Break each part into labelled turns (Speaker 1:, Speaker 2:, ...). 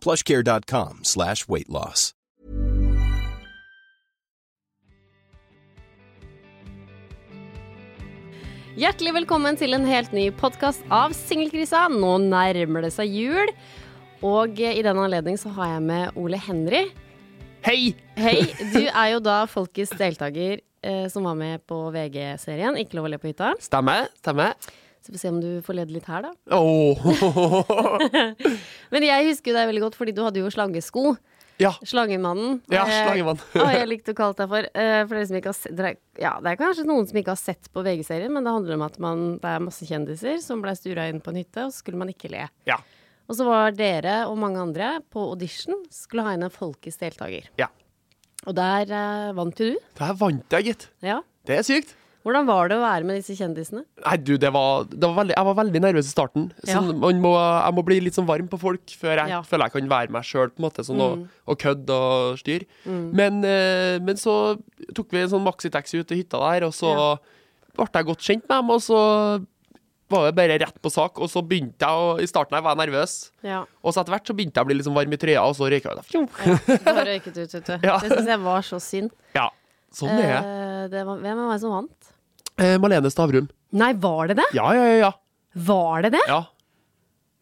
Speaker 1: Plushcare.com slash weight loss.
Speaker 2: Hjertelig velkommen til en helt ny podkast av Singelkrisa. Nå nærmer det seg jul, og i den anledning så har jeg med Ole Henry.
Speaker 3: Hei!
Speaker 2: Hei, du er jo da folkets deltaker eh, som var med på VG-serien Ikke lov å le på hytta.
Speaker 3: Stemmer, stemmer.
Speaker 2: Så vi får se om du får ledd litt her, da.
Speaker 3: Åh.
Speaker 2: Men jeg husker jo deg veldig godt, fordi du hadde jo slangesko.
Speaker 3: Ja.
Speaker 2: Slangemannen.
Speaker 3: Ja,
Speaker 2: Eh,
Speaker 3: Slangemann.
Speaker 2: Å, jeg likte å kalle deg for. Eh, for dere som ikke har sett, dere, ja, det er kanskje noen som ikke har sett på VG-serien, men det handler om at man, det er masse kjendiser som ble stura inn på en hytte, og så skulle man ikke le.
Speaker 3: ja.
Speaker 2: Og så var dere og mange andre på audition, skulle ha inn en folkets deltaker.
Speaker 3: Ja.
Speaker 2: Og der eh, vant jo du.
Speaker 3: Det her vant jeg, gitt.
Speaker 2: Ja.
Speaker 3: Det er sykt.
Speaker 2: Hvordan var det å være med disse kjendisene?
Speaker 3: Nei, du, det var, det var veldig, jeg var veldig nervøs i starten. Sånn,
Speaker 2: Ja.
Speaker 3: man må, jeg må bli litt sånn varm på folk før jeg
Speaker 2: Ja. Mm.
Speaker 3: føler jeg kan være meg sjøl sånn, og, og kødde og styre. Men, eh, men så tok vi en sånn maxitaxi ut til hytta der, og så
Speaker 2: Ja.
Speaker 3: ble jeg godt kjent med dem. Og så var det bare rett på sak. Og så begynte jeg å I starten her var jeg nervøs,
Speaker 2: Ja,
Speaker 3: og så etter hvert så begynte jeg å bli litt sånn varm i trøya, og så røyka jeg. Fjong.
Speaker 2: Bare røyket ut, vet du.
Speaker 3: Ja.
Speaker 2: Det syns jeg var så synd.
Speaker 3: Ja, sånn er jeg.
Speaker 2: Eh, det var, hvem var det som vant?
Speaker 3: Eh, Malene Stavrum.
Speaker 2: Nei, var det det?
Speaker 3: Ja, ja, ja. ja.
Speaker 2: Var det det?
Speaker 3: ja.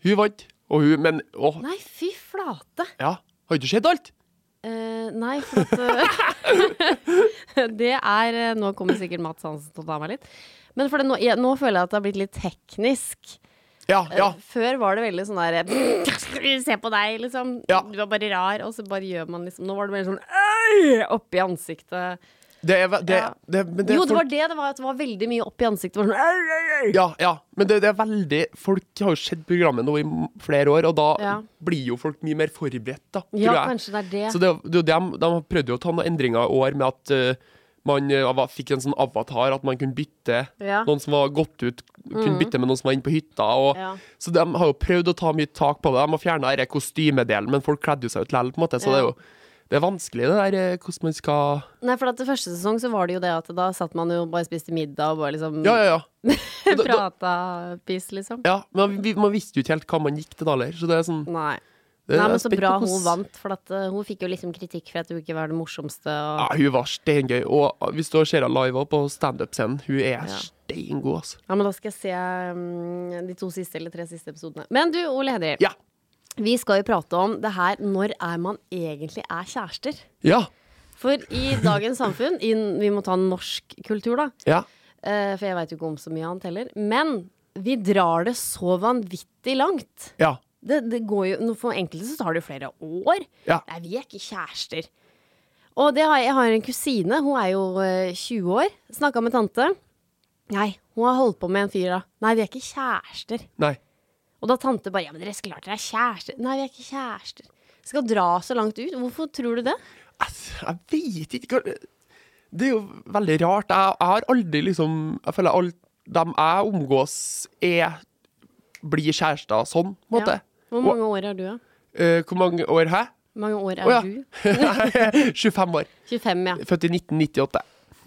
Speaker 3: Hun vant, og hun Men åh,
Speaker 2: Nei, fy flate.
Speaker 3: ja. Har du sett alt?
Speaker 2: Eh, nei, for at eh, Det er eh, Nå kommer sikkert Mats Hansen til å ta meg litt. Men for det, nå, jeg, nå føler jeg at det har blitt litt teknisk.
Speaker 3: Ja,
Speaker 2: Eh,
Speaker 3: ja.
Speaker 2: Før var det veldig sånn der eh, Se på deg, liksom.
Speaker 3: Ja.
Speaker 2: Du er bare rar. Og så bare gjør man liksom Nå var det mer sånn «Øy!» opp i ansiktet.
Speaker 3: Det er ve- det,
Speaker 2: Ja.
Speaker 3: det, men det er
Speaker 2: jo, det
Speaker 3: folk-
Speaker 2: var det det var. At det var veldig mye opp i ansiktet. Det var sånn, «Øy, øy, øy!»
Speaker 3: Ja, ja. Men det, det er veldig Folk har jo sett programmet nå i m- flere år, og da
Speaker 2: Ja.
Speaker 3: blir jo folk mye mer forberedt, da.
Speaker 2: ja,
Speaker 3: tror jeg.
Speaker 2: kanskje det er det.
Speaker 3: Så det, det, er jo dem- de prøvde jo å ta noen endringer i år med at eh, man eh, var- fikk en sånn avatar, at man kunne bytte
Speaker 2: Ja. Mm.
Speaker 3: noen som var gått ut, kunne bytte med noen som var inne på hytta. Og,
Speaker 2: Ja.
Speaker 3: Så de har jo prøvd å ta mye tak på det. De har fjerna denne kostymedelen, men folk kledde jo seg ut likevel, på en måte. Så
Speaker 2: Ja.
Speaker 3: det er jo det er vanskelig, det der eh, hvordan man skal
Speaker 2: Nei, for at det første sesong så var det jo det at da satt man jo bare og spiste middag og bare liksom
Speaker 3: Ja, ja, ja. da- da-
Speaker 2: prata piss, liksom.
Speaker 3: ja men vi, man visste jo ikke helt hva man gikk til da heller, så det er sånn
Speaker 2: Nei.
Speaker 3: det
Speaker 2: Nei,
Speaker 3: er
Speaker 2: men så
Speaker 3: spent på
Speaker 2: bra
Speaker 3: hvordan-
Speaker 2: hun vant, for at, eh, hun fikk jo liksom kritikk for at hun ikke var det morsomste.
Speaker 3: Ja,
Speaker 2: Og...
Speaker 3: hun var steingøy. Og hvis du ser henne live også på standup-scenen, hun er steingod, altså.
Speaker 2: Ja, men da skal jeg se mm, de to siste eller tre siste episodene. Men du, Ole Henry.
Speaker 3: Ja.
Speaker 2: Vi skal jo prate om det her når er man egentlig er kjærester.
Speaker 3: Ja.
Speaker 2: For i dagens samfunn, i, vi må ta norsk kultur, da.
Speaker 3: Ja.
Speaker 2: eh, For jeg veit jo ikke om så mye annet heller. Men vi drar det så vanvittig langt.
Speaker 3: ja.
Speaker 2: Det, det går jo, no- for enkelte så tar det jo flere år.
Speaker 3: Ja.
Speaker 2: Nei, vi er ikke kjærester. Og det har, jeg- jeg har en kusine, hun er jo eh, 20 år. Snakka med tante. Nei, hun har holdt på med en fyr, da. Nei, vi er ikke kjærester.
Speaker 3: Nei.
Speaker 2: Og da tante bare Ja, men dere er klart dere er kjærester. Nei, vi er ikke kjærester. Skal dra så langt ut. Hvorfor tror du det?
Speaker 3: Altså, Jeg vet ikke hva Det er jo veldig rart. Jeg, jeg har aldri liksom Jeg føler alt dem jeg omgås, er blir kjærester sånn, på en måte.
Speaker 2: Ja. Hvor mange år er du, da?
Speaker 3: Eh, hvor mange år hæ?
Speaker 2: Hvor mange år er
Speaker 3: Å ja.
Speaker 2: du?
Speaker 3: 25 år.
Speaker 2: 25, ja.
Speaker 3: Født i 1998.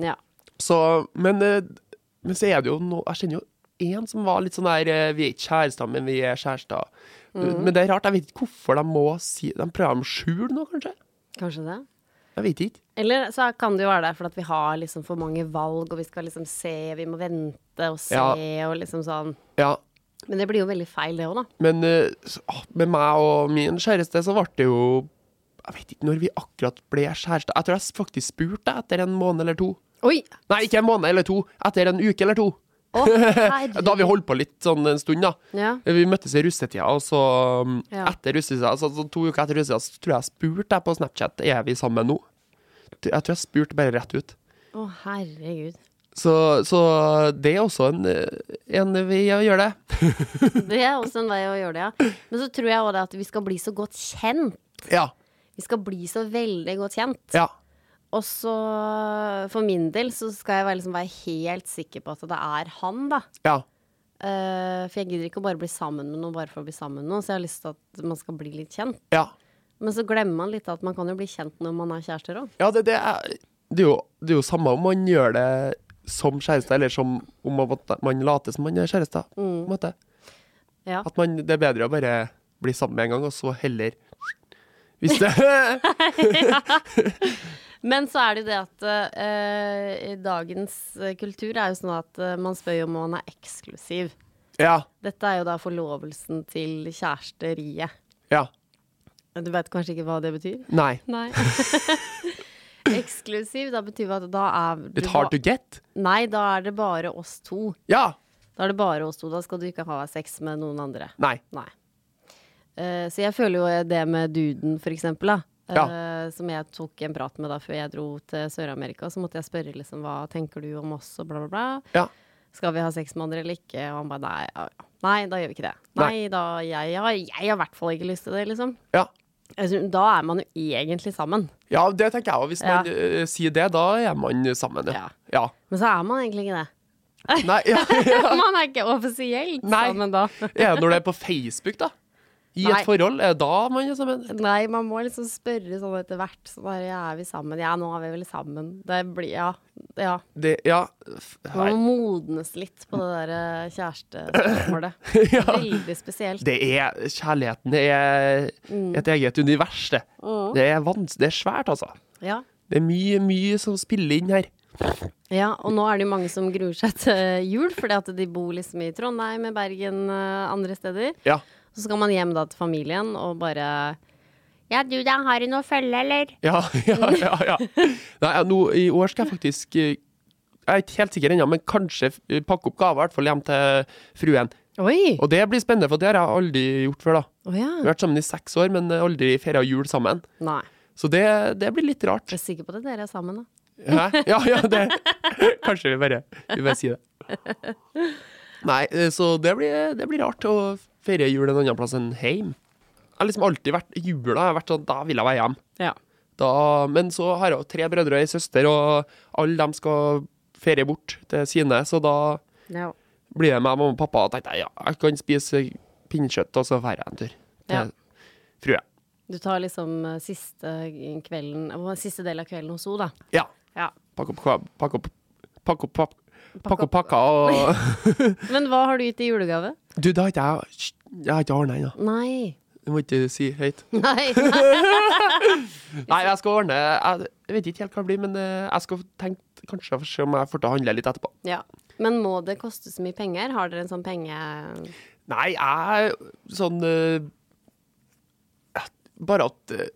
Speaker 2: ja.
Speaker 3: Så, men, eh, men så er det jo no, Jeg kjenner jo én som var litt sånn der eh, Vi er ikke kjærester, men vi er kjærester. Men det er rart. Jeg vet ikke hvorfor de må si De prøver å skjule noe, kanskje?
Speaker 2: Kanskje det.
Speaker 3: Jeg vet ikke.
Speaker 2: Eller så kan det jo være der for at vi har liksom for mange valg, og vi skal liksom se, vi må vente og se,
Speaker 3: Ja.
Speaker 2: og liksom sånn.
Speaker 3: Ja,
Speaker 2: Men det blir jo veldig feil, det òg, da.
Speaker 3: Men eh, s- ah, med meg og min kjæreste så ble det jo Jeg vet ikke når vi akkurat ble kjærester. Jeg tror jeg s- faktisk spurte deg etter en måned eller to.
Speaker 2: Oi!
Speaker 3: Nei, ikke en måned eller to. Etter en uke eller to.
Speaker 2: Å, herregud.
Speaker 3: Da vi holdt på litt sånn en stund, da.
Speaker 2: Ja.
Speaker 3: Vi møttes i russetida, og så mm,
Speaker 2: Ja.
Speaker 3: etter russetida, så, så to uker etter russetida, så tror jeg jeg spurte deg på Snapchat Er vi sammen nå. Jeg tror jeg spurte bare rett ut.
Speaker 2: Å, herregud.
Speaker 3: Så, så det er også en, eh, en vei å gjøre det.
Speaker 2: Det er også en vei å gjøre det, ja. Men så tror jeg òg det at vi skal bli så godt kjent.
Speaker 3: Ja.
Speaker 2: Vi skal bli så veldig godt kjent.
Speaker 3: Ja.
Speaker 2: Og så for min del så skal jeg være, liksom, være helt sikker på at det er han, da.
Speaker 3: ja.
Speaker 2: Eh, for jeg gidder ikke å bare bli sammen med noen bare for å bli sammen med noen. Så jeg har lyst til at man skal bli litt kjent.
Speaker 3: Ja.
Speaker 2: Men så glemmer man litt at man kan jo bli kjent når man er kjærester òg.
Speaker 3: Ja, det, det, er, det, er jo, det er jo samme om man gjør det som kjæreste, eller som om man, man later som man er kjæreste. på
Speaker 2: Mm.
Speaker 3: en måte.
Speaker 2: Ja.
Speaker 3: At man, det er bedre å bare bli sammen med en gang, og så heller Hvis det
Speaker 2: Men så er det jo det at eh, i dagens eh, kultur er jo sånn at eh, man spør jo om man er eksklusiv.
Speaker 3: Ja.
Speaker 2: Dette er jo da forlovelsen til kjæresteriet.
Speaker 3: Ja.
Speaker 2: Du vet kanskje ikke hva det betyr?
Speaker 3: Nei.
Speaker 2: Nei. Eksklusiv, da betyr det at da er du
Speaker 3: It's hard to get.
Speaker 2: Nei, da er det bare oss to.
Speaker 3: Ja.
Speaker 2: Da er det bare oss to. Da skal du ikke ha sex med noen andre.
Speaker 3: Nei.
Speaker 2: Nei. Eh, så jeg føler jo det med duden, for eksempel, da. eh, Som jeg tok en prat med da før jeg dro til Sør-Amerika. Så måtte jeg spørre liksom hva tenker du om oss, og bla, bla, bla.
Speaker 3: Ja.
Speaker 2: Skal vi ha sex med andre eller ikke? Og han bare nei, ja, ja. nei, da gjør vi ikke det. Nei, da jeg har jeg har i hvert fall ikke lyst til det, liksom.
Speaker 3: Ja.
Speaker 2: Altså, da er man jo egentlig sammen.
Speaker 3: Ja, det tenker jeg òg. Hvis
Speaker 2: Ja.
Speaker 3: man eh, sier det, da er man sammen. Ja. ja.
Speaker 2: Men så er man egentlig ikke det.
Speaker 3: Nei, ja, ja.
Speaker 2: Man er ikke offisielt
Speaker 3: Nei.
Speaker 2: sammen da.
Speaker 3: Er det når det er på Facebook, da? I
Speaker 2: Nei.
Speaker 3: et forhold? Er det da man er sammen?
Speaker 2: Nei, man må liksom spørre sånn etter hvert. Så bare, ja, er vi sammen? Ja, nå er vi vel sammen. Det blir, ja. ja.
Speaker 3: Det, ja. f-
Speaker 2: Man
Speaker 3: Nei.
Speaker 2: må modnes litt på det der eh, kjærestespørsmålet.
Speaker 3: Ja.
Speaker 2: Veldig spesielt.
Speaker 3: Det er Kjærligheten er et eget univers, det. Det, er vans det er svært, altså.
Speaker 2: Ja.
Speaker 3: Det er mye, mye som spiller inn her.
Speaker 2: ja, og nå er det jo mange som gruer seg til eh, jul, fordi at de bor liksom i Trondheim, i Bergen, eh, andre steder.
Speaker 3: Ja.
Speaker 2: Så skal man hjem da til familien og bare Ja, du da, har du noe følge, eller?
Speaker 3: Ja, ja, ja. ja. Nei, ja, nå, I år skal jeg faktisk eh, Jeg er ikke helt sikker ennå, men kanskje eh, pakke opp gaver, i hvert fall hjem til fruen.
Speaker 2: Oi! Å
Speaker 3: Og det blir spennende, for det har jeg aldri gjort før, da. Vi
Speaker 2: ja.
Speaker 3: har vært sammen i seks år, men eh, aldri feira jul sammen.
Speaker 2: Nei.
Speaker 3: Så det, det blir litt rart.
Speaker 2: Jeg er sikker på det, dere er sammen, da.
Speaker 3: Hæ? Ja, ja, det Kanskje vi bare, vi bare sier det. Nei, eh, så det blir, det blir rart å feire jul en annen plass enn hjem. Jeg har liksom alltid vært Jula har vært sånn Da vil jeg være hjemme.
Speaker 2: Ja.
Speaker 3: Da, men så har jeg jo tre brødre og ei søster, og alle dem skal ferie bort til sine, så da
Speaker 2: ja.
Speaker 3: blir det meg, mamma og pappa, og tenkte jeg ja, jeg kan spise pinnekjøtt, og så drar jeg en tur
Speaker 2: Ja.
Speaker 3: til frue.
Speaker 2: Du tar liksom eh, siste kvelden eh, Siste del av kvelden hos henne, da.
Speaker 3: Ja.
Speaker 2: Ja.
Speaker 3: Pakke opp kva- pakk opp pakk opp pakk pakk opp pakka og
Speaker 2: Men hva har du gitt i julegave?
Speaker 3: Du, det har ikke jeg Hysj, Jeg har ikke ordna ennå.
Speaker 2: Nei.
Speaker 3: Du må ikke si høyt.
Speaker 2: Nei.
Speaker 3: Nei, jeg skal ordne Jeg jeg vet ikke helt hva det blir, men eh, jeg skal tenke kanskje for å se om jeg får til å handle litt etterpå.
Speaker 2: ja. Men må det koste så mye penger? Har dere en sånn penge...
Speaker 3: Nei, jeg er sånn eh, Bare at eh,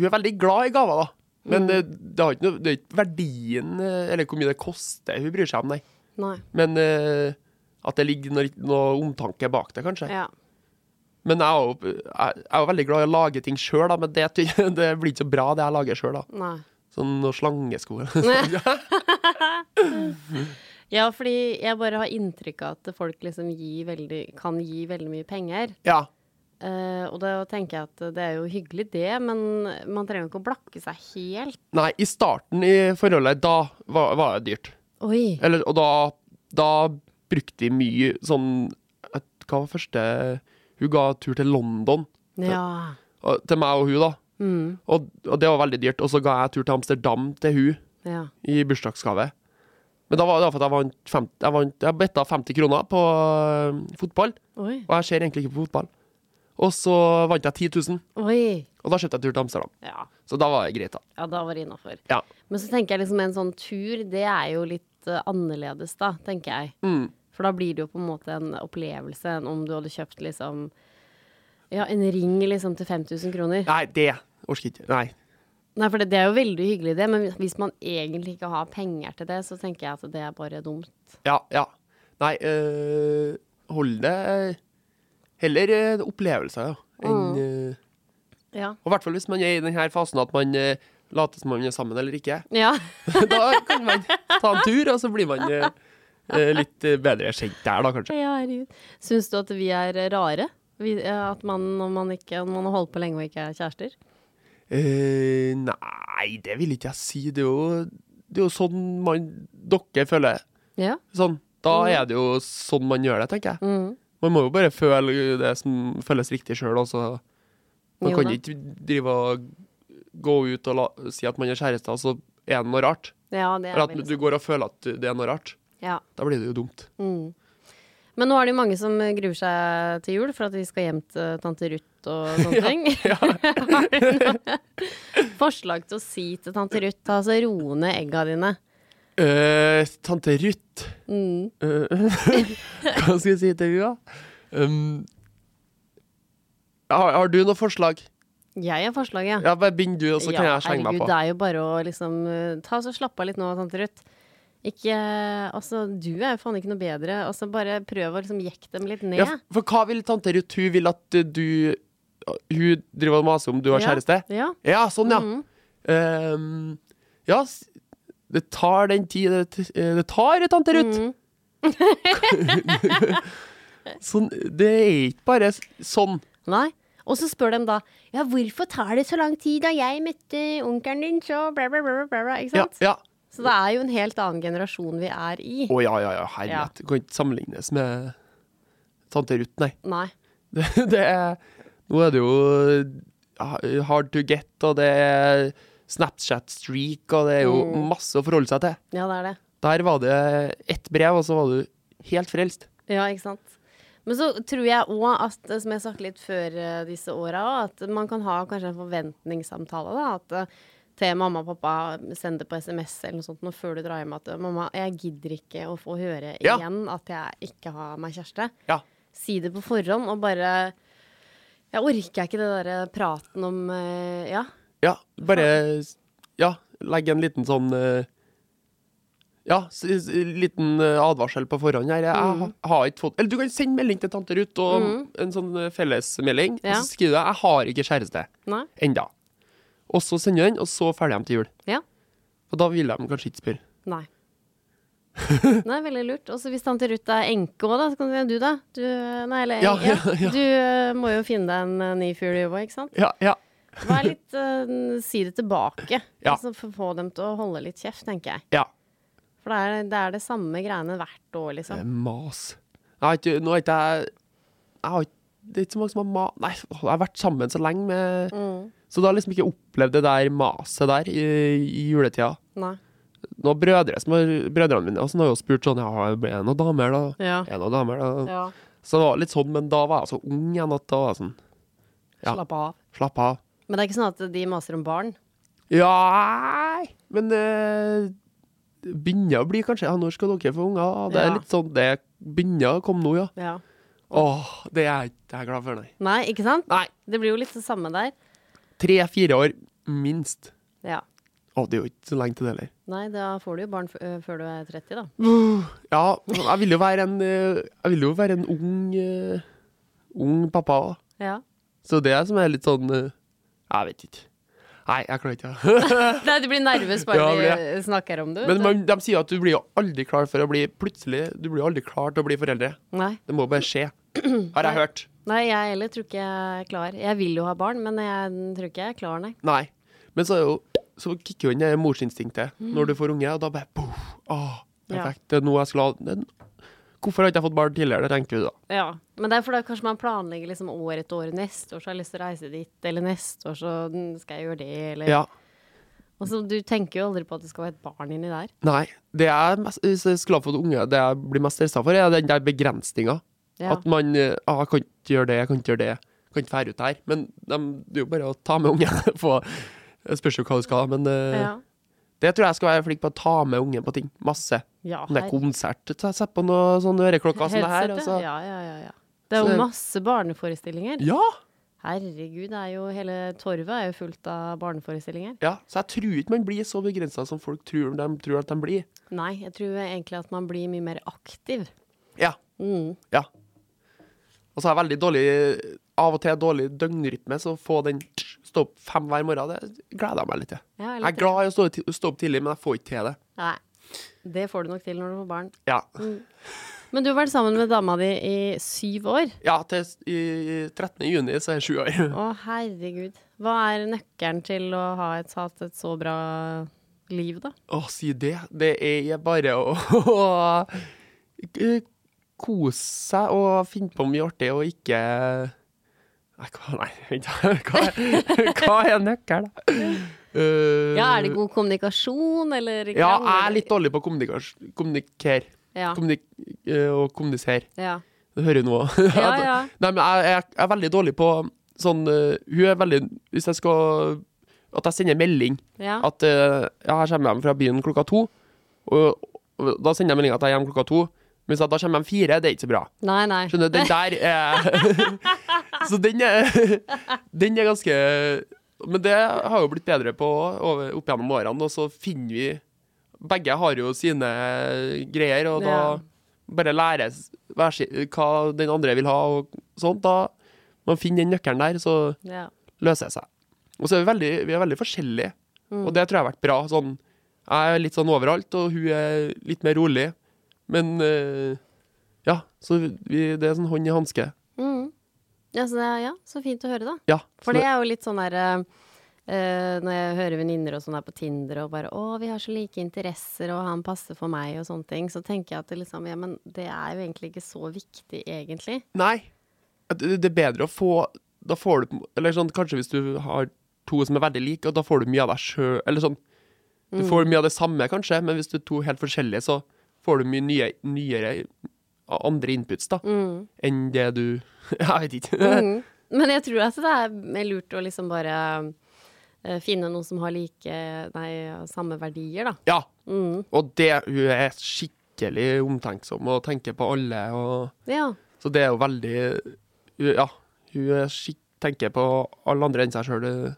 Speaker 3: Hun er veldig glad i gaver, da. Men eh, det, har ikke noe, det er ikke verdien eh, eller hvor mye det koster hun bryr seg om, nei.
Speaker 2: Nei.
Speaker 3: Men eh, at det ligger noe, noe omtanke bak det, kanskje.
Speaker 2: Ja.
Speaker 3: Men jeg er, jo, jeg jeg er jo veldig glad i å lage ting sjøl, men det, det blir ikke så bra det jeg lager sjøl.
Speaker 2: Nei.
Speaker 3: Sånn noe slangesko.
Speaker 2: Ja, fordi jeg bare har inntrykk av at folk liksom gir veldig, kan gi veldig mye penger.
Speaker 3: ja.
Speaker 2: Eh, og da tenker jeg at det er jo hyggelig, det, men man trenger jo ikke å blakke seg helt.
Speaker 3: Nei, i starten i forholdet, da var, var det dyrt.
Speaker 2: Oi.
Speaker 3: Eller, og da, da brukte de mye sånn et, Hva var første Hun ga tur til London.
Speaker 2: Ja.
Speaker 3: og- Til meg og hun, da. Og, og det var veldig dyrt. Og så ga jeg tur til Amsterdam til hun
Speaker 2: ja.
Speaker 3: i bursdagsgave. Men da var det for at jeg vant 50, jeg, vant, jeg betta 50 kroner på øh, fotball.
Speaker 2: Oi.
Speaker 3: Og jeg ser egentlig ikke på fotball. Og så vant jeg 10 000,
Speaker 2: Oi.
Speaker 3: og da kjøpte jeg tur til Amsterdam.
Speaker 2: Ja.
Speaker 3: Så da var det greit, da.
Speaker 2: ja, da var det innafor.
Speaker 3: Ja.
Speaker 2: Men så tenker jeg liksom en sånn tur, det er jo litt eh, annerledes da, tenker jeg.
Speaker 3: Mm.
Speaker 2: For da blir det jo på en måte en opplevelse enn om du hadde kjøpt liksom ja, en ring liksom til 5000 kroner.
Speaker 3: Nei, det orker ikke. Nei.
Speaker 2: Nei, for det, det er jo veldig hyggelig det, men hvis man egentlig ikke har penger til det, så tenker jeg at det er bare dumt.
Speaker 3: Ja, ja. Nei, øh, hold det eh, Heller øh, opplevelser, ja. Enn, øh,
Speaker 2: Ja.
Speaker 3: og i hvert fall hvis man er i denne fasen at man øh, later som man er sammen eller ikke.
Speaker 2: Ja,
Speaker 3: da kan man ta en tur, og så blir man øh, øh, litt øh, bedre kjent der, da, kanskje.
Speaker 2: herregud. Syns du at vi er rare? Vi, eh, at man, når man, ikke, når man har holdt på lenge og ikke er kjærester?
Speaker 3: Eh, nei, det vil ikke jeg si. Det er jo, det er jo sånn man Dere føler det.
Speaker 2: Ja.
Speaker 3: sånn. Da er det jo sånn man gjør det, tenker jeg.
Speaker 2: Mm.
Speaker 3: Man må jo bare føle det som føles riktig sjøl, altså. Man
Speaker 2: Jo
Speaker 3: kan
Speaker 2: da.
Speaker 3: ikke drive og gå ut og la, si at man er kjæreste, og så er det noe rart.
Speaker 2: ja, det er
Speaker 3: Eller at
Speaker 2: veldig
Speaker 3: du går og føler at det er noe rart.
Speaker 2: Ja.
Speaker 3: Da blir det jo dumt.
Speaker 2: Mm. Men nå er det jo mange som gruer seg til jul for at vi skal hjem til eh, tante Ruth og sånne ting. Har du noe forslag til å si til tante Ruth? Altså roe ned egga dine.
Speaker 3: Eh, tante Ruth
Speaker 2: Mm.
Speaker 3: Eh, Hva skal jeg si til henne, da? Um, har, har du noe forslag?
Speaker 2: Jeg er forslaget.
Speaker 3: Ja, bare begynn du, og så kan jeg slenge meg
Speaker 2: herregud,
Speaker 3: på.
Speaker 2: Det er jo bare å liksom eh, Ta så slapp av litt nå, tante Ruth. Ikke Altså, du er jo faen ikke noe bedre. Altså, bare prøv å liksom jekke dem litt ned.
Speaker 3: Ja, for hva vil tante Ruth? Hun vil at eh, du Hun driver og maser om du har kjæreste?
Speaker 2: Ja.
Speaker 3: Ja, sånn, ja.
Speaker 2: Mhm.
Speaker 3: Um, ja, s- det tar den tid det, t- eh, det tar, tante Ruth.
Speaker 2: Mhm.
Speaker 3: Sånn, det er ikke bare s- sånn.
Speaker 2: Nei. Og så spør de da Ja, hvorfor tar det så lang tid? Da jeg møtte onkelen din, så bla, bla, bla, bla, bla. Ikke
Speaker 3: Ja,
Speaker 2: sant?
Speaker 3: ja.
Speaker 2: Så det er jo en helt annen generasjon vi er i.
Speaker 3: Å ja, ja, ja, helvete. Kan ikke sammenlignes med tante Ruth, nei.
Speaker 2: Nei.
Speaker 3: Det, det er Nå er det jo ha- hard to get, og det er Snapchat-streak, og det er jo masse å forholde seg til.
Speaker 2: Ja, det er det.
Speaker 3: Der var det ett brev, og så var du helt frelst.
Speaker 2: Ja, ikke sant. Men så tror jeg òg at, som jeg har sagt litt før eh, disse åra, at man kan ha kanskje en forventningssamtale. da, at eh, til mamma og pappa, send det på SMS eller noe sånt nå før du drar hjem at eh, 'Mamma, jeg gidder ikke å få høre
Speaker 3: Ja.
Speaker 2: igjen at jeg ikke har meg kjæreste'.
Speaker 3: Ja.
Speaker 2: si det på forhånd og bare Jeg orker ikke det derre praten om eh, Ja.
Speaker 3: Ja, bare Ja, legg en liten sånn eh, Ja, s- s- liten eh, advarsel på forhånd her. Jeg ha- har ikke fått Eller du kan sende melding til tante Ruth, og en sånn eh, fellesmelding.
Speaker 2: Ja.
Speaker 3: Og så skriver du 'Jeg har ikke kjæreste
Speaker 2: Nei.
Speaker 3: enda'. Og så sender du den, og så ferdig hjem til jul.
Speaker 2: Ja.
Speaker 3: Og da vil de kanskje ikke spørre.
Speaker 2: Nei. Nei, veldig lurt. Og så hvis tante Ruth er enke òg, da, så kan du du, da. Du, eh, nei, eller,
Speaker 3: Ja,
Speaker 2: ja,
Speaker 3: ja, ja.
Speaker 2: Du eh, må jo finne deg en eh, ny fyr, du òg, ikke sant?
Speaker 3: Ja, ja.
Speaker 2: Vær litt eh, Si det tilbake.
Speaker 3: Ja.
Speaker 2: Altså, for å få dem til å holde litt kjeft, tenker jeg.
Speaker 3: ja.
Speaker 2: For det er det, er det samme greiene hvert år,
Speaker 3: Det
Speaker 2: liksom.
Speaker 3: er mas. Jeg har ikke, nå har ikke jeg Jeg har ikke det er ikke så mange som har ma... Nei, jeg har vært sammen så lenge med
Speaker 2: Mm.
Speaker 3: Så da har jeg liksom ikke opplevd det der maset der i, i juletida.
Speaker 2: Nei.
Speaker 3: Nå har brødre som har, Brødrene mine og sånn har jo spurt sånn Ja, ble det noen damer, da?
Speaker 2: Ja.
Speaker 3: Er det noen damer, da?
Speaker 2: Ja.
Speaker 3: Så det var litt sånn, men da var jeg så ung igjen at da var jeg sånn Ja.
Speaker 2: Slapp av.
Speaker 3: Slapp av.
Speaker 2: Men det er ikke sånn at de maser om barn.
Speaker 3: Ja Men eh, det begynner å bli kanskje Ja, når skal dere få unger? Det er
Speaker 2: Ja.
Speaker 3: litt sånn Det begynner å komme nå, ja.
Speaker 2: Ja.
Speaker 3: Åh, det er jeg ikke jeg er glad for, nei.
Speaker 2: Nei, ikke sant?
Speaker 3: Nei.
Speaker 2: Det blir jo litt det samme der.
Speaker 3: Tre-fire år, minst.
Speaker 2: Ja.
Speaker 3: Å, det er jo ikke så lenge til det heller.
Speaker 2: Nei, da får du jo barn f ø, før du er 30, da.
Speaker 3: Ja, jeg vil jo være en, eh, jeg vil jo være en ung, eh, ung pappa òg.
Speaker 2: Ja.
Speaker 3: Så det er som er litt sånn eh, Jeg vet ikke. Nei, jeg klarer ikke det.
Speaker 2: Nei, du blir nervøs bare
Speaker 3: Ja,
Speaker 2: vi
Speaker 3: blir
Speaker 2: ø, snakker om det. vet
Speaker 3: Men man, de sier at du blir jo aldri klar for å bli plutselig Du blir jo aldri klar til å bli foreldre.
Speaker 2: du. Nei.
Speaker 3: Det må bare skje. Har jeg hørt.
Speaker 2: Nei, jeg heller tror ikke jeg er klar. Jeg vil jo ha barn, men jeg tror ikke jeg er klar, nei.
Speaker 3: Nei. Men så, er jo, så kicker jo inn det morsinstinktet når du får unge, og da bare poff. Åh,
Speaker 2: Mm. Ja.
Speaker 3: perfekt. Det er noe jeg skulle ha men Hvorfor har ikke jeg fått barn tidligere, tenker du da.
Speaker 2: Ja. Men det er fordi at kanskje man planlegger liksom år etter år. Neste år så har jeg lyst til å reise dit, eller neste år så mm, skal jeg gjøre det, eller
Speaker 3: Ja.
Speaker 2: Og så du tenker jo aldri på at det skal være et barn inni der.
Speaker 3: Nei. Det jeg, er mest, hvis jeg skulle ha fått unge, det jeg blir mest stressa for, er den der begrensninga.
Speaker 2: Ja.
Speaker 3: At man eh, ah, 'Jeg kan ikke gjøre det, jeg kan ikke gjøre det, jeg kan ikke fære ut her'. Men dem- det er jo bare å ta med ungen. få- Det spørs jo hva du skal ha, men eh,
Speaker 2: Ja.
Speaker 3: det tror jeg skal være flink på å ta med ungen på ting. Masse.
Speaker 2: Ja,
Speaker 3: Om det er
Speaker 2: her-
Speaker 3: konsert, ta- sett på noen sånne øreklokker som det sånn her.
Speaker 2: Headsetet.
Speaker 3: Og så.
Speaker 2: Ja, ja, ja, ja. Det er
Speaker 3: Så det-
Speaker 2: jo masse barneforestillinger.
Speaker 3: ja!
Speaker 2: Herregud, det er jo hele torvet er jo fullt av barneforestillinger.
Speaker 3: Ja, så jeg tror ikke man blir så begrensa som folk tror de tror at de blir.
Speaker 2: Nei, jeg tror egentlig at man blir mye mer aktiv.
Speaker 3: Ja. ja. Og så har jeg veldig dårlig, av og til dårlig døgnrytme, så å få den stå opp fem hver morgen, det gleder jeg meg litt til.
Speaker 2: Ja,
Speaker 3: Jeg
Speaker 2: eller
Speaker 3: er glad i å stå, ti- stå opp tidlig, men jeg får ikke til det. Mm.
Speaker 2: Nei, det får du nok til når du får barn.
Speaker 3: Ja.
Speaker 2: Men du har vært sammen med dama di i syv år.
Speaker 3: Ja, til s- i 13. juni så er jeg sju år.
Speaker 2: Å, herregud. Hva er nøkkelen til å ha et, hatt et så bra liv, da?
Speaker 3: Å, si det. Det er bare å, å k- kose seg og finne på mye artig og ikke Nei, hva, nei, vent. Hva, er- hva er nøkkelen, da? Uh,
Speaker 2: Ja, er det god kommunikasjon, eller
Speaker 3: Ja,
Speaker 2: krangler?
Speaker 3: jeg er litt dårlig på å kommunikere. kommunikere.
Speaker 2: Ja.
Speaker 3: Kommunik eh, og kommunisere.
Speaker 2: ja.
Speaker 3: Det hører jeg nå.
Speaker 2: Ja, ja.
Speaker 3: Nei, men jeg, jeg, jeg er veldig dårlig på sånn eh, Hun er veldig Hvis jeg skal At jeg sender melding.
Speaker 2: Ja.
Speaker 3: At eh, ja, jeg kommer hjem fra byen klokka to. Og, og da sender jeg melding at jeg er hjemme klokka to. Mens at da kommer jeg hjem fire, det er ikke så bra.
Speaker 2: Nei, nei.
Speaker 3: Skjønner, den der er Så den er Den er ganske Men det har jo blitt bedre på over, opp gjennom årene, og så finner vi Begge har jo sine greier, og da
Speaker 2: Ja.
Speaker 3: bare lærer s- hver si- hva den andre vil ha, og sånt. Da man finner den nøkkelen der, så
Speaker 2: Ja.
Speaker 3: løser det seg. Og så er vi veldig, vi er veldig forskjellige,
Speaker 2: Mm.
Speaker 3: og det tror jeg har vært bra. Sånn, jeg er litt sånn overalt, og hun er litt mer rolig. Men eh, ja, så vi, det er sånn hånd i hanske.
Speaker 2: Mm. Ja, så det er, ja, så fint å høre, da.
Speaker 3: Ja, så
Speaker 2: For det er jo litt sånn der eh, Når jeg hører venninner og sånn der på Tinder og bare 'Å, vi har så like interesser, og han passer for meg', og sånne ting, så tenker jeg at det liksom Ja, men det er jo egentlig ikke så viktig, egentlig.
Speaker 3: Nei, at det det er bedre å få Da får du på en må- Eller sånn, kanskje hvis du har to som er veldig like, og da får du mye av deg sjøl Eller sånn
Speaker 2: Mm.
Speaker 3: Du får mye av det samme, kanskje, men hvis du er to helt forskjellige, så får du mye nye, nyere andre inputs, da,
Speaker 2: Mm.
Speaker 3: enn det du Jeg vet ikke.
Speaker 2: Men jeg tror at det er lurt å liksom bare eh, finne noen som har like Nei, samme verdier, da.
Speaker 3: Ja. Og det, hun er skikkelig omtenksom og tenker på alle. Og,
Speaker 2: Ja.
Speaker 3: så det er jo veldig hun- Ja, hun er skik tenker på alle andre enn seg sjøl,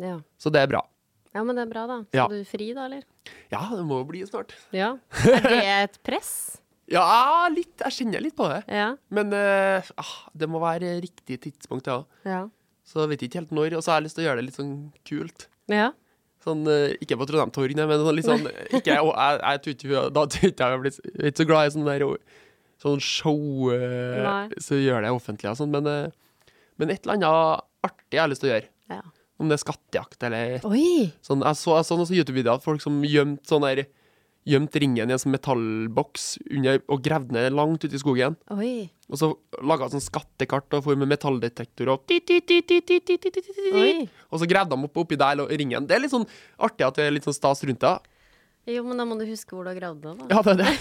Speaker 2: Ja.
Speaker 3: så det er bra.
Speaker 2: ja, men det er bra, da. Skal
Speaker 3: Ja.
Speaker 2: du fri, da, eller?
Speaker 3: Ja, det må jo bli snart.
Speaker 2: Ja. Er det et press?
Speaker 3: Ja, litt. Jeg kjenner litt på det.
Speaker 2: Ja.
Speaker 3: Men eh, ah, det må være riktig tidspunkt, ja.
Speaker 2: Ja.
Speaker 3: Så jeg vet ikke helt når. Og så har jeg lyst til å gjøre det litt sånn kult.
Speaker 2: ja.
Speaker 3: Sånn, eh, ikke på Trondheim Torg, nei, men sånn, litt sånn ikke, jeg, jeg, jeg tror ikke hun- Da tror ikke jeg jeg blir så- ikke så glad i sånn der Sånn show eh,
Speaker 2: Nei.
Speaker 3: Så gjør det offentlig og sånn, men, eh, men et eller annet artig jeg har lyst til å gjøre.
Speaker 2: ja.
Speaker 3: Om det er skattejakt eller et-
Speaker 2: Oi!
Speaker 3: sånn, Jeg så, jeg så noen YouTube-videoer av folk som gjemte sånn der Gjemt ringen i en sånn metallboks under, og gravde ned langt ute i skogen.
Speaker 2: Oi!
Speaker 3: Og så laga sånn skattekart og for med metalldetektor og Oi. Og så gravde de opp oppi der lo- ringen. Det er litt sånn artig at det er litt sånn stas rundt det.
Speaker 2: Jo, men da må du huske hvor du har gravd den. da.
Speaker 3: Ja, det er det.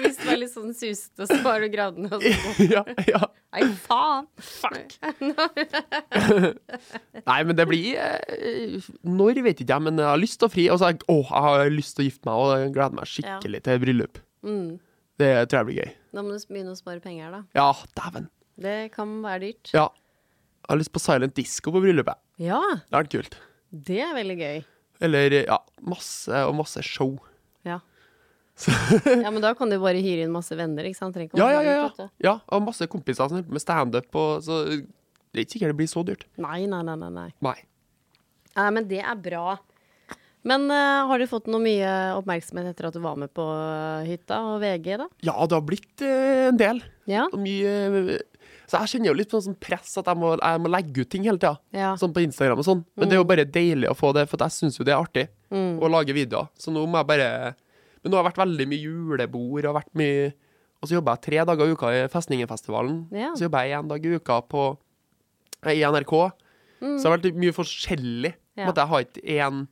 Speaker 2: Hvis du er litt sånn susete, så har du gravd den. og så-
Speaker 3: ja, ja.
Speaker 2: Nei, faen!
Speaker 3: Fuck. Nei, men det blir eh, Når vet ikke jeg, men jeg har lyst til å fri. Og så har jeg, åh, jeg har lyst til å gifte meg, og jeg gleder meg skikkelig til bryllup.
Speaker 2: Mm.
Speaker 3: Det tror jeg blir gøy.
Speaker 2: Da må du begynne å spare penger, da.
Speaker 3: Ja, dæven.
Speaker 2: Det kan være dyrt.
Speaker 3: Ja. Jeg har lyst på silent disco på bryllupet.
Speaker 2: Ja,
Speaker 3: Det hadde vært kult.
Speaker 2: det er veldig gøy.
Speaker 3: Eller ja, masse og masse show.
Speaker 2: Ja. ja, men da kan du bare hyre inn masse venner, ikke sant? Trenger ikke å
Speaker 3: Ja, ja,
Speaker 2: være dyrt,
Speaker 3: ja. ja.
Speaker 2: vet du.
Speaker 3: ja og masse kompiser som holder på med standup. og Så det er ikke sikkert det blir så dyrt.
Speaker 2: Nei, nei, nei, nei, nei.
Speaker 3: Nei.
Speaker 2: Nei, men det er bra. Men eh, har du fått noe mye oppmerksomhet etter at du var med på eh, hytta og VG, da?
Speaker 3: Ja, det har blitt eh, en del.
Speaker 2: Ja.
Speaker 3: Og mye eh, Så jeg kjenner jo litt på sånn press at jeg må, jeg må legge ut ting hele tida.
Speaker 2: Ja. Mm.
Speaker 3: Sånn på Instagram og sånn. Men det er jo bare deilig å få det, for jeg syns jo det er artig å lage videoer. Så nå må jeg bare Men nå har jeg vært veldig mye julebord og vært mye Og så jobber jeg tre dager i uka i Festningenfestivalen.
Speaker 2: Ja.
Speaker 3: Så jobber jeg én dag i uka på eh, i NRK. Så det har vært mye forskjellig.
Speaker 2: Ja.
Speaker 3: På en måte, jeg har ikke én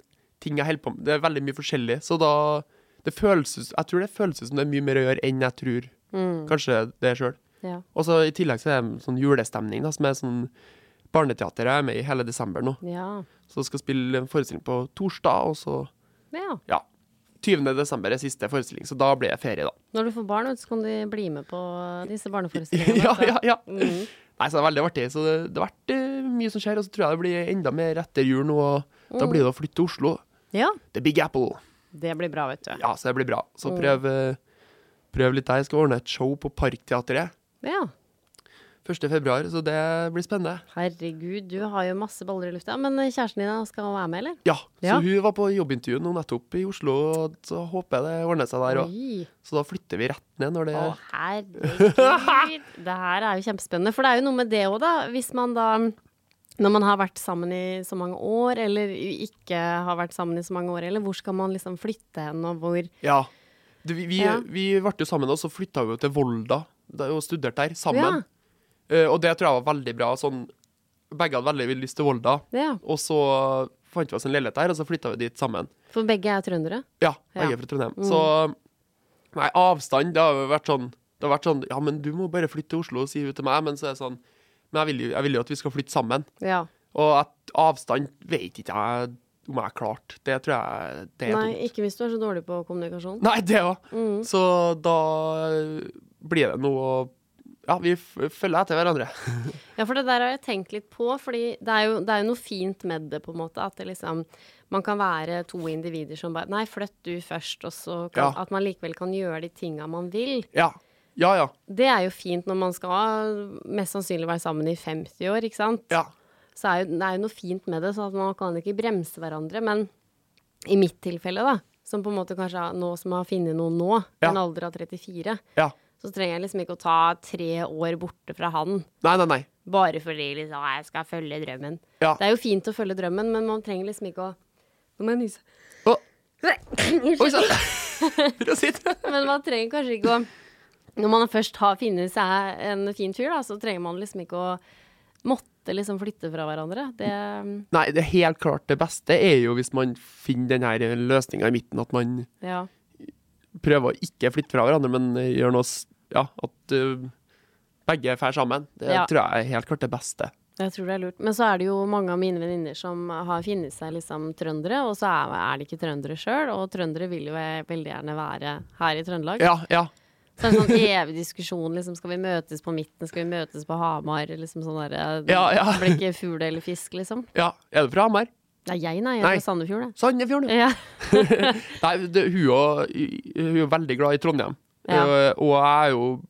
Speaker 3: ting jeg holder på med. Det er veldig mye forskjellig. Så da det føles, ut- Jeg tror det føles ut som det er mye mer å gjøre enn jeg tror.
Speaker 2: Mm.
Speaker 3: Kanskje det sjøl.
Speaker 2: Ja.
Speaker 3: Og så i tillegg så er det sånn julestemning, da, som er sånn Barneteater er med i hele desember nå.
Speaker 2: Ja.
Speaker 3: Så skal spille en forestilling på torsdag, og så
Speaker 2: ja.
Speaker 3: Ja. 20. desember er siste forestilling, så da blir det ferie, da.
Speaker 2: Når du får barn, vet du, så kan de bli med på eh, disse barneforestillingene.
Speaker 3: ja,
Speaker 2: vet du.
Speaker 3: ja, ja. Nei, så det er veldig artig. Så det, det har vært eh, mye som skjer, og så tror jeg det blir enda mer etter jul nå. Og da blir det å flytte til Oslo.
Speaker 2: ja.
Speaker 3: The Big Apple.
Speaker 2: Det blir bra, vet du.
Speaker 3: Ja, så det blir bra. Så prøv, eh, prøv litt der. Jeg skal ordne et show på Parkteatret.
Speaker 2: Ja.
Speaker 3: 1. februar, så det blir spennende.
Speaker 2: Herregud, du har jo masse baller i lufta. Men eh, kjæresten din skal være med, eller?
Speaker 3: Ja,
Speaker 2: Ja.
Speaker 3: så hun var på jobbintervju nå nettopp i Oslo, og så håper jeg det ordner seg der òg.
Speaker 2: Oi.
Speaker 3: Så da flytter vi rett ned når det
Speaker 2: Å, herregud. Det her er jo kjempespennende. For det er jo noe med det òg, da. Hvis man da når man har vært sammen i så mange år, eller ikke har vært sammen i så mange år, eller hvor skal man liksom flytte hen, og hvor
Speaker 3: Ja. Du, vi, vi,
Speaker 2: Ja.
Speaker 3: vi ble jo sammen, og så flytta vi jo til Volda da- og studerte der
Speaker 2: Ja,
Speaker 3: sammen. Eh, og det tror jeg var veldig bra. Sånn, begge hadde veldig lyst til Volda.
Speaker 2: ja.
Speaker 3: Og så fant vi oss en leilighet der, og så flytta vi dit sammen.
Speaker 2: For begge er trøndere.
Speaker 3: Ja, begge
Speaker 2: Ja. Mm.
Speaker 3: er fra Trondheim. Så nei, avstand, det har jo vært sånn Det har vært sånn Ja, men du må bare flytte til Oslo, sier hun til meg. Men så er det sånn Men jeg vil jo, jeg vil jo at vi skal flytte sammen.
Speaker 2: Ja.
Speaker 3: Og at avstand vet ikke jeg om jeg har klart. Det tror jeg det er
Speaker 2: Nei, Mm.
Speaker 3: dumt.
Speaker 2: ikke hvis du er så dårlig på kommunikasjon.
Speaker 3: Nei, det òg. Så da blir det noe Ja, vi f- følger etter hverandre.
Speaker 2: Ja, for det der har jeg tenkt litt på, fordi det er jo, det er jo noe fint med det, på en måte. At det liksom, man kan være to individer som bare Nei, flytt du først, og så kan,
Speaker 3: Ja.
Speaker 2: At man likevel kan gjøre de tinga man vil.
Speaker 3: Ja. Ja, ja.
Speaker 2: Det er jo fint når man skal mest sannsynlig være sammen i 50 år, ikke sant.
Speaker 3: ja.
Speaker 2: Så er jo, det er jo noe fint med det, så at man kan ikke bremse hverandre. Men i mitt tilfelle, da, som på en måte kanskje er nå som har funnet noen nå, i
Speaker 3: Ja.
Speaker 2: en alder av 34,
Speaker 3: ja.
Speaker 2: så trenger jeg liksom ikke å ta tre år borte fra han.
Speaker 3: Nei, nei, nei.
Speaker 2: Bare fordi liksom, «Nei, jeg skal følge drømmen.
Speaker 3: Ja.
Speaker 2: Det er jo fint å følge drømmen, men man trenger liksom ikke å Nå må jeg nyse.
Speaker 3: Å, Oi
Speaker 2: Unnskyld.
Speaker 3: sann! Rosit.
Speaker 2: Men man trenger kanskje ikke å Når man først har funnet seg en fin fyr, da, så trenger man liksom ikke å måtte liksom flytte fra hverandre. Det
Speaker 3: Nei, det er helt klart det beste er jo hvis man finner denne løsninga i midten, at man
Speaker 2: Ja.
Speaker 3: prøver å ikke flytte fra hverandre, men gjør noe s- Ja, at uh, begge drar sammen. Det
Speaker 2: Ja.
Speaker 3: tror jeg er helt klart det beste.
Speaker 2: Jeg tror det er lurt. Men så er det jo mange av mine venninner som har funnet seg liksom trøndere, og så er, er de ikke trøndere sjøl, og trøndere vil jo veldig gjerne være her i Trøndelag.
Speaker 3: Ja, ja.
Speaker 2: Så er det en sånn evig diskusjon, liksom, skal vi møtes på midten, skal vi møtes på Hamar, liksom sånn derre
Speaker 3: Ja, ja.
Speaker 2: Blir ikke fugl eller fisk, liksom.
Speaker 3: ja. Er du fra Hamar?
Speaker 2: Nei, jeg, nei, jeg
Speaker 3: Nei.
Speaker 2: er fra Sandefjord, jeg.
Speaker 3: Sandefjord, du.
Speaker 2: Ja.
Speaker 3: Nei, det, hun, og, hun er jo veldig glad i Trondheim.
Speaker 2: Ja.
Speaker 3: Uh, og jeg er jo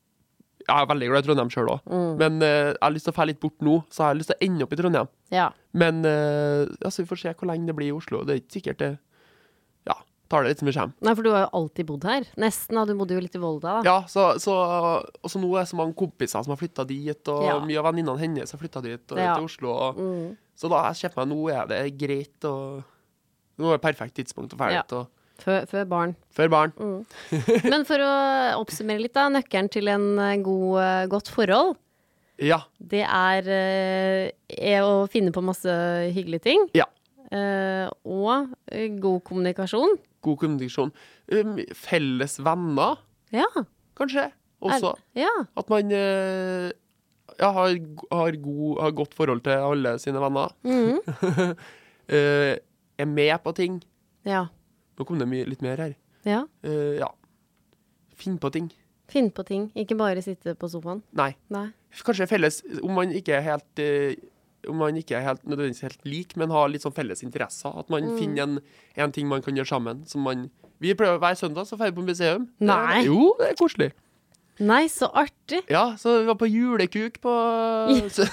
Speaker 3: jeg er veldig glad i Trondheim sjøl òg, men uh, jeg har lyst til å dra litt bort nå, så jeg har lyst til å ende opp i Trondheim.
Speaker 2: ja.
Speaker 3: Men uh, altså, vi får se hvor lenge det blir i Oslo. Det er ikke sikkert det Ja, tar det litt som det kommer.
Speaker 2: Nei, for du har jo alltid bodd her. Nesten, da. Du bodde jo litt i Volda, da.
Speaker 3: Ja, så, så, og så nå er det så mange kompiser som har flytta dit, og
Speaker 2: Ja.
Speaker 3: mye av venninnene hennes har flytta dit og
Speaker 2: Ja.
Speaker 3: til Oslo. Og, Så da jeg kjøper meg nå er det greit, og nå er det perfekt tidspunkt å ferdig
Speaker 2: Ja.
Speaker 3: ut, og
Speaker 2: Før, før barn.
Speaker 3: før barn.
Speaker 2: Men for å oppsummere litt, da. Nøkkelen til en eh, god, eh, godt forhold,
Speaker 3: Ja.
Speaker 2: det er, eh, er å finne på masse hyggelige ting.
Speaker 3: ja.
Speaker 2: eh, og eh, god kommunikasjon.
Speaker 3: God kommunikasjon. Um, felles venner,
Speaker 2: Ja.
Speaker 3: kanskje,
Speaker 2: er-
Speaker 3: også.
Speaker 2: Ja.
Speaker 3: At man eh, ja, har, har, god, har godt forhold til alle sine venner.
Speaker 2: Mhm.
Speaker 3: Eh, er med på ting.
Speaker 2: ja.
Speaker 3: Nå kom det mye, litt mer her.
Speaker 2: Ja.
Speaker 3: Eh, ja. Finn på ting.
Speaker 2: Finne på ting. Ikke bare sitte på sofaen.
Speaker 3: Nei.
Speaker 2: Nei.
Speaker 3: Kanskje felles Om man ikke er helt eh, Om man ikke er helt, nødvendigvis helt lik, men har litt sånn felles interesser. At man finner en, en ting man kan gjøre sammen. Som man Vi prøver hver søndag, så drar vi på museum. Det er-
Speaker 2: Nei.
Speaker 3: jo, det er koselig.
Speaker 2: Nei, så artig!
Speaker 3: Ja, så vi var på julekuk på så-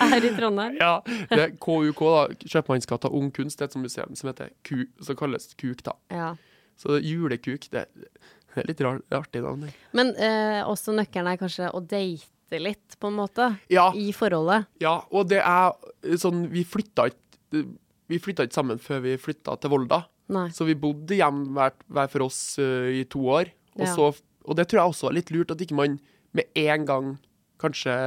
Speaker 2: Her i Trondheim.
Speaker 3: Ja, det er KUK, da. Kjøpmannsgata Ung Kunst. Det er et sånt museum som heter Ku, som kalles Kuk, da.
Speaker 2: Ja.
Speaker 3: Så julekuk, det er, det er litt rart, artig navn. det.
Speaker 2: Men eh, også nøkkelen er kanskje å date litt, på en måte.
Speaker 3: Ja.
Speaker 2: I forholdet.
Speaker 3: Ja, og det er eh, sånn Vi flytta ikke Vi flytta ikke sammen før vi flytta til Volda.
Speaker 2: Nei.
Speaker 3: Så vi bodde hjemme hver, hver for oss eh, i to år. Og,
Speaker 2: Ja.
Speaker 3: så, og det tror jeg også er litt lurt, at ikke man med en gang kanskje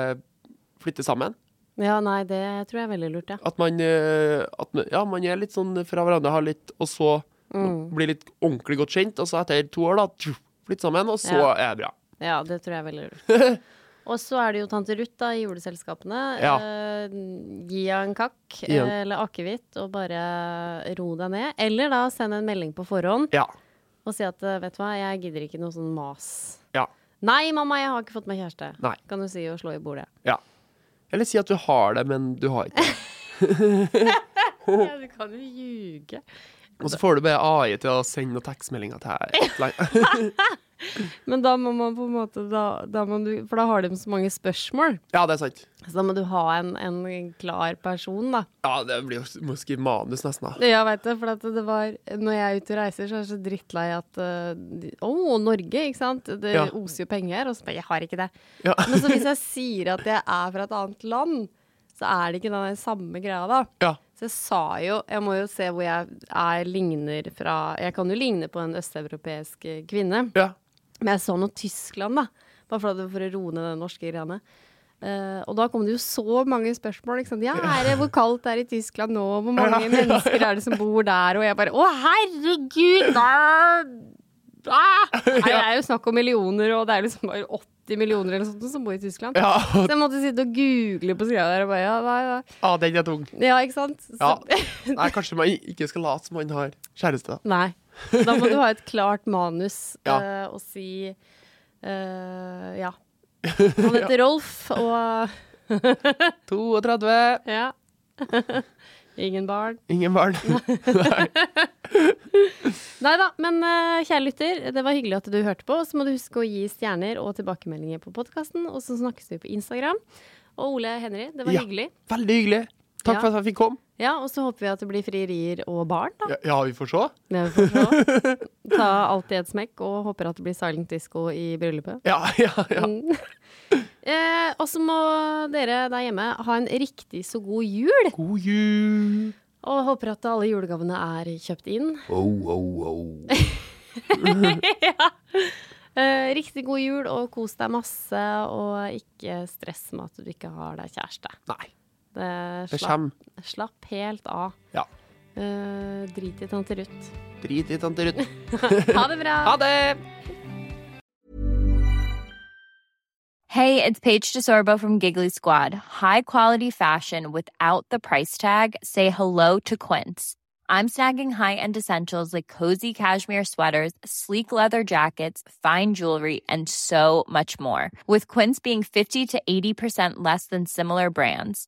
Speaker 3: flytter sammen.
Speaker 2: Ja, nei, det tror jeg er veldig lurt, ja.
Speaker 3: At man, eh, at man, ja, man er litt sånn fra hverandre, har litt, og så
Speaker 2: Mm.
Speaker 3: blir litt ordentlig godt kjent. Og så etter to år, da, tju, flytte sammen, og så
Speaker 2: Ja.
Speaker 3: er det bra.
Speaker 2: Ja, det tror jeg er veldig lurt. Og så er det jo tante Ruth da, i juleselskapene.
Speaker 3: Ja.
Speaker 2: Eh, gi henne en kakk
Speaker 3: Gi henne-
Speaker 2: eh, eller akevitt og bare ro deg ned. Eller da send en melding på forhånd
Speaker 3: Ja.
Speaker 2: og si at eh, vet du hva, jeg gidder ikke noe sånn mas.
Speaker 3: Ja.
Speaker 2: Nei, mamma, jeg har ikke fått meg kjæreste.
Speaker 3: Nei.
Speaker 2: Kan du si og slå i bordet.
Speaker 3: ja. Eller si at du har det, men du har ikke. det. Oh.
Speaker 2: Ja, du kan jo ljuge.
Speaker 3: Og så får du bare AI til å sende noen tekstmeldinger til deg.
Speaker 2: Men da må man på en måte da, da må du, For da har de så mange spørsmål.
Speaker 3: Ja, det er sant.
Speaker 2: Så da må du ha en, en klar person, da.
Speaker 3: Ja, det blir jo må skrive manus nesten, da.
Speaker 2: Ja, veit det. For at det var Når jeg er ute og reiser, så er jeg så drittlei at eh, de- Å, Norge, ikke sant? Det
Speaker 3: Ja.
Speaker 2: oser jo penger. Og så bare Jeg har ikke det.
Speaker 3: Ja.
Speaker 2: Men så hvis jeg sier at jeg er fra et annet land, så er det ikke den der samme greia da.
Speaker 3: ja.
Speaker 2: Så jeg sa jo Jeg må jo se hvor jeg er, ligner fra Jeg kan jo ligne på en østeuropeisk eh, kvinne.
Speaker 3: ja.
Speaker 2: Men jeg så noe Tyskland, da. Bare for, at- for å roe ned det norske greiene. Eh, og da kom det jo så mange spørsmål. Ikke sant? Ja, er det, hvor kaldt er det i Tyskland nå? Hvor mange mennesker er det som bor der? Og jeg bare Å, herregud! Da, da. Nei, det er jo snakk om millioner, og det er liksom bare 80 millioner eller sånt som bor i Tyskland.
Speaker 3: Ja,
Speaker 2: Så jeg måtte sitte og google på sida der og bare ja, nei, nei.
Speaker 3: ja den er tung.
Speaker 2: ja, ikke sant? Så,
Speaker 3: Ja. Nei, kanskje man ikke skal late som man har kjæreste, da.
Speaker 2: Nei. Da må du ha et klart manus
Speaker 3: Ja.
Speaker 2: eh, og si eh, ja. Han heter Rolf og
Speaker 3: 32.
Speaker 2: ja. Ingen barn.
Speaker 3: Ingen barn.
Speaker 2: Nei da, men eh, kjære lytter, det var hyggelig at du hørte på. Så må du huske å gi stjerner og tilbakemeldinger på podkasten. Og så snakkes vi på Instagram. Og Ole Henry, det var
Speaker 3: Ja.
Speaker 2: hyggelig.
Speaker 3: Veldig hyggelig. Takk
Speaker 2: Ja.
Speaker 3: for at jeg fikk komme.
Speaker 2: Ja, Og så håper vi at det blir frierier og barn, da.
Speaker 3: Ja, ja, vi får se.
Speaker 2: Det får vi se. Ta alt i et smekk, og håper at det blir silent disco i bryllupet.
Speaker 3: Ja, ja, ja.
Speaker 2: Mm. Eh, og så må dere der hjemme ha en riktig så god jul.
Speaker 3: God jul.
Speaker 2: Og håper at alle julegavene er kjøpt inn.
Speaker 1: Oh, oh, oh.
Speaker 2: Eh, riktig god jul, og kos deg masse. Og ikke stress med at du ikke har deg kjæreste.
Speaker 3: Nei,
Speaker 2: Det,
Speaker 3: det
Speaker 2: slapp,
Speaker 3: kommer.
Speaker 2: slapp helt av.
Speaker 3: Ja.
Speaker 2: Eh, drit i tante Ruth.
Speaker 3: Drit i tante Ruth.
Speaker 2: Ha det bra.
Speaker 3: Ha det!
Speaker 4: Hey, it's Paige DeSorbo from Giggly Squad. High quality fashion without the price tag. Say hello to Quince. I'm snagging high-end essentials like cozy cashmere sweaters, sleek leather jackets, fine jewelry, and so much more. With Quince being 50 to 80% less than similar brands.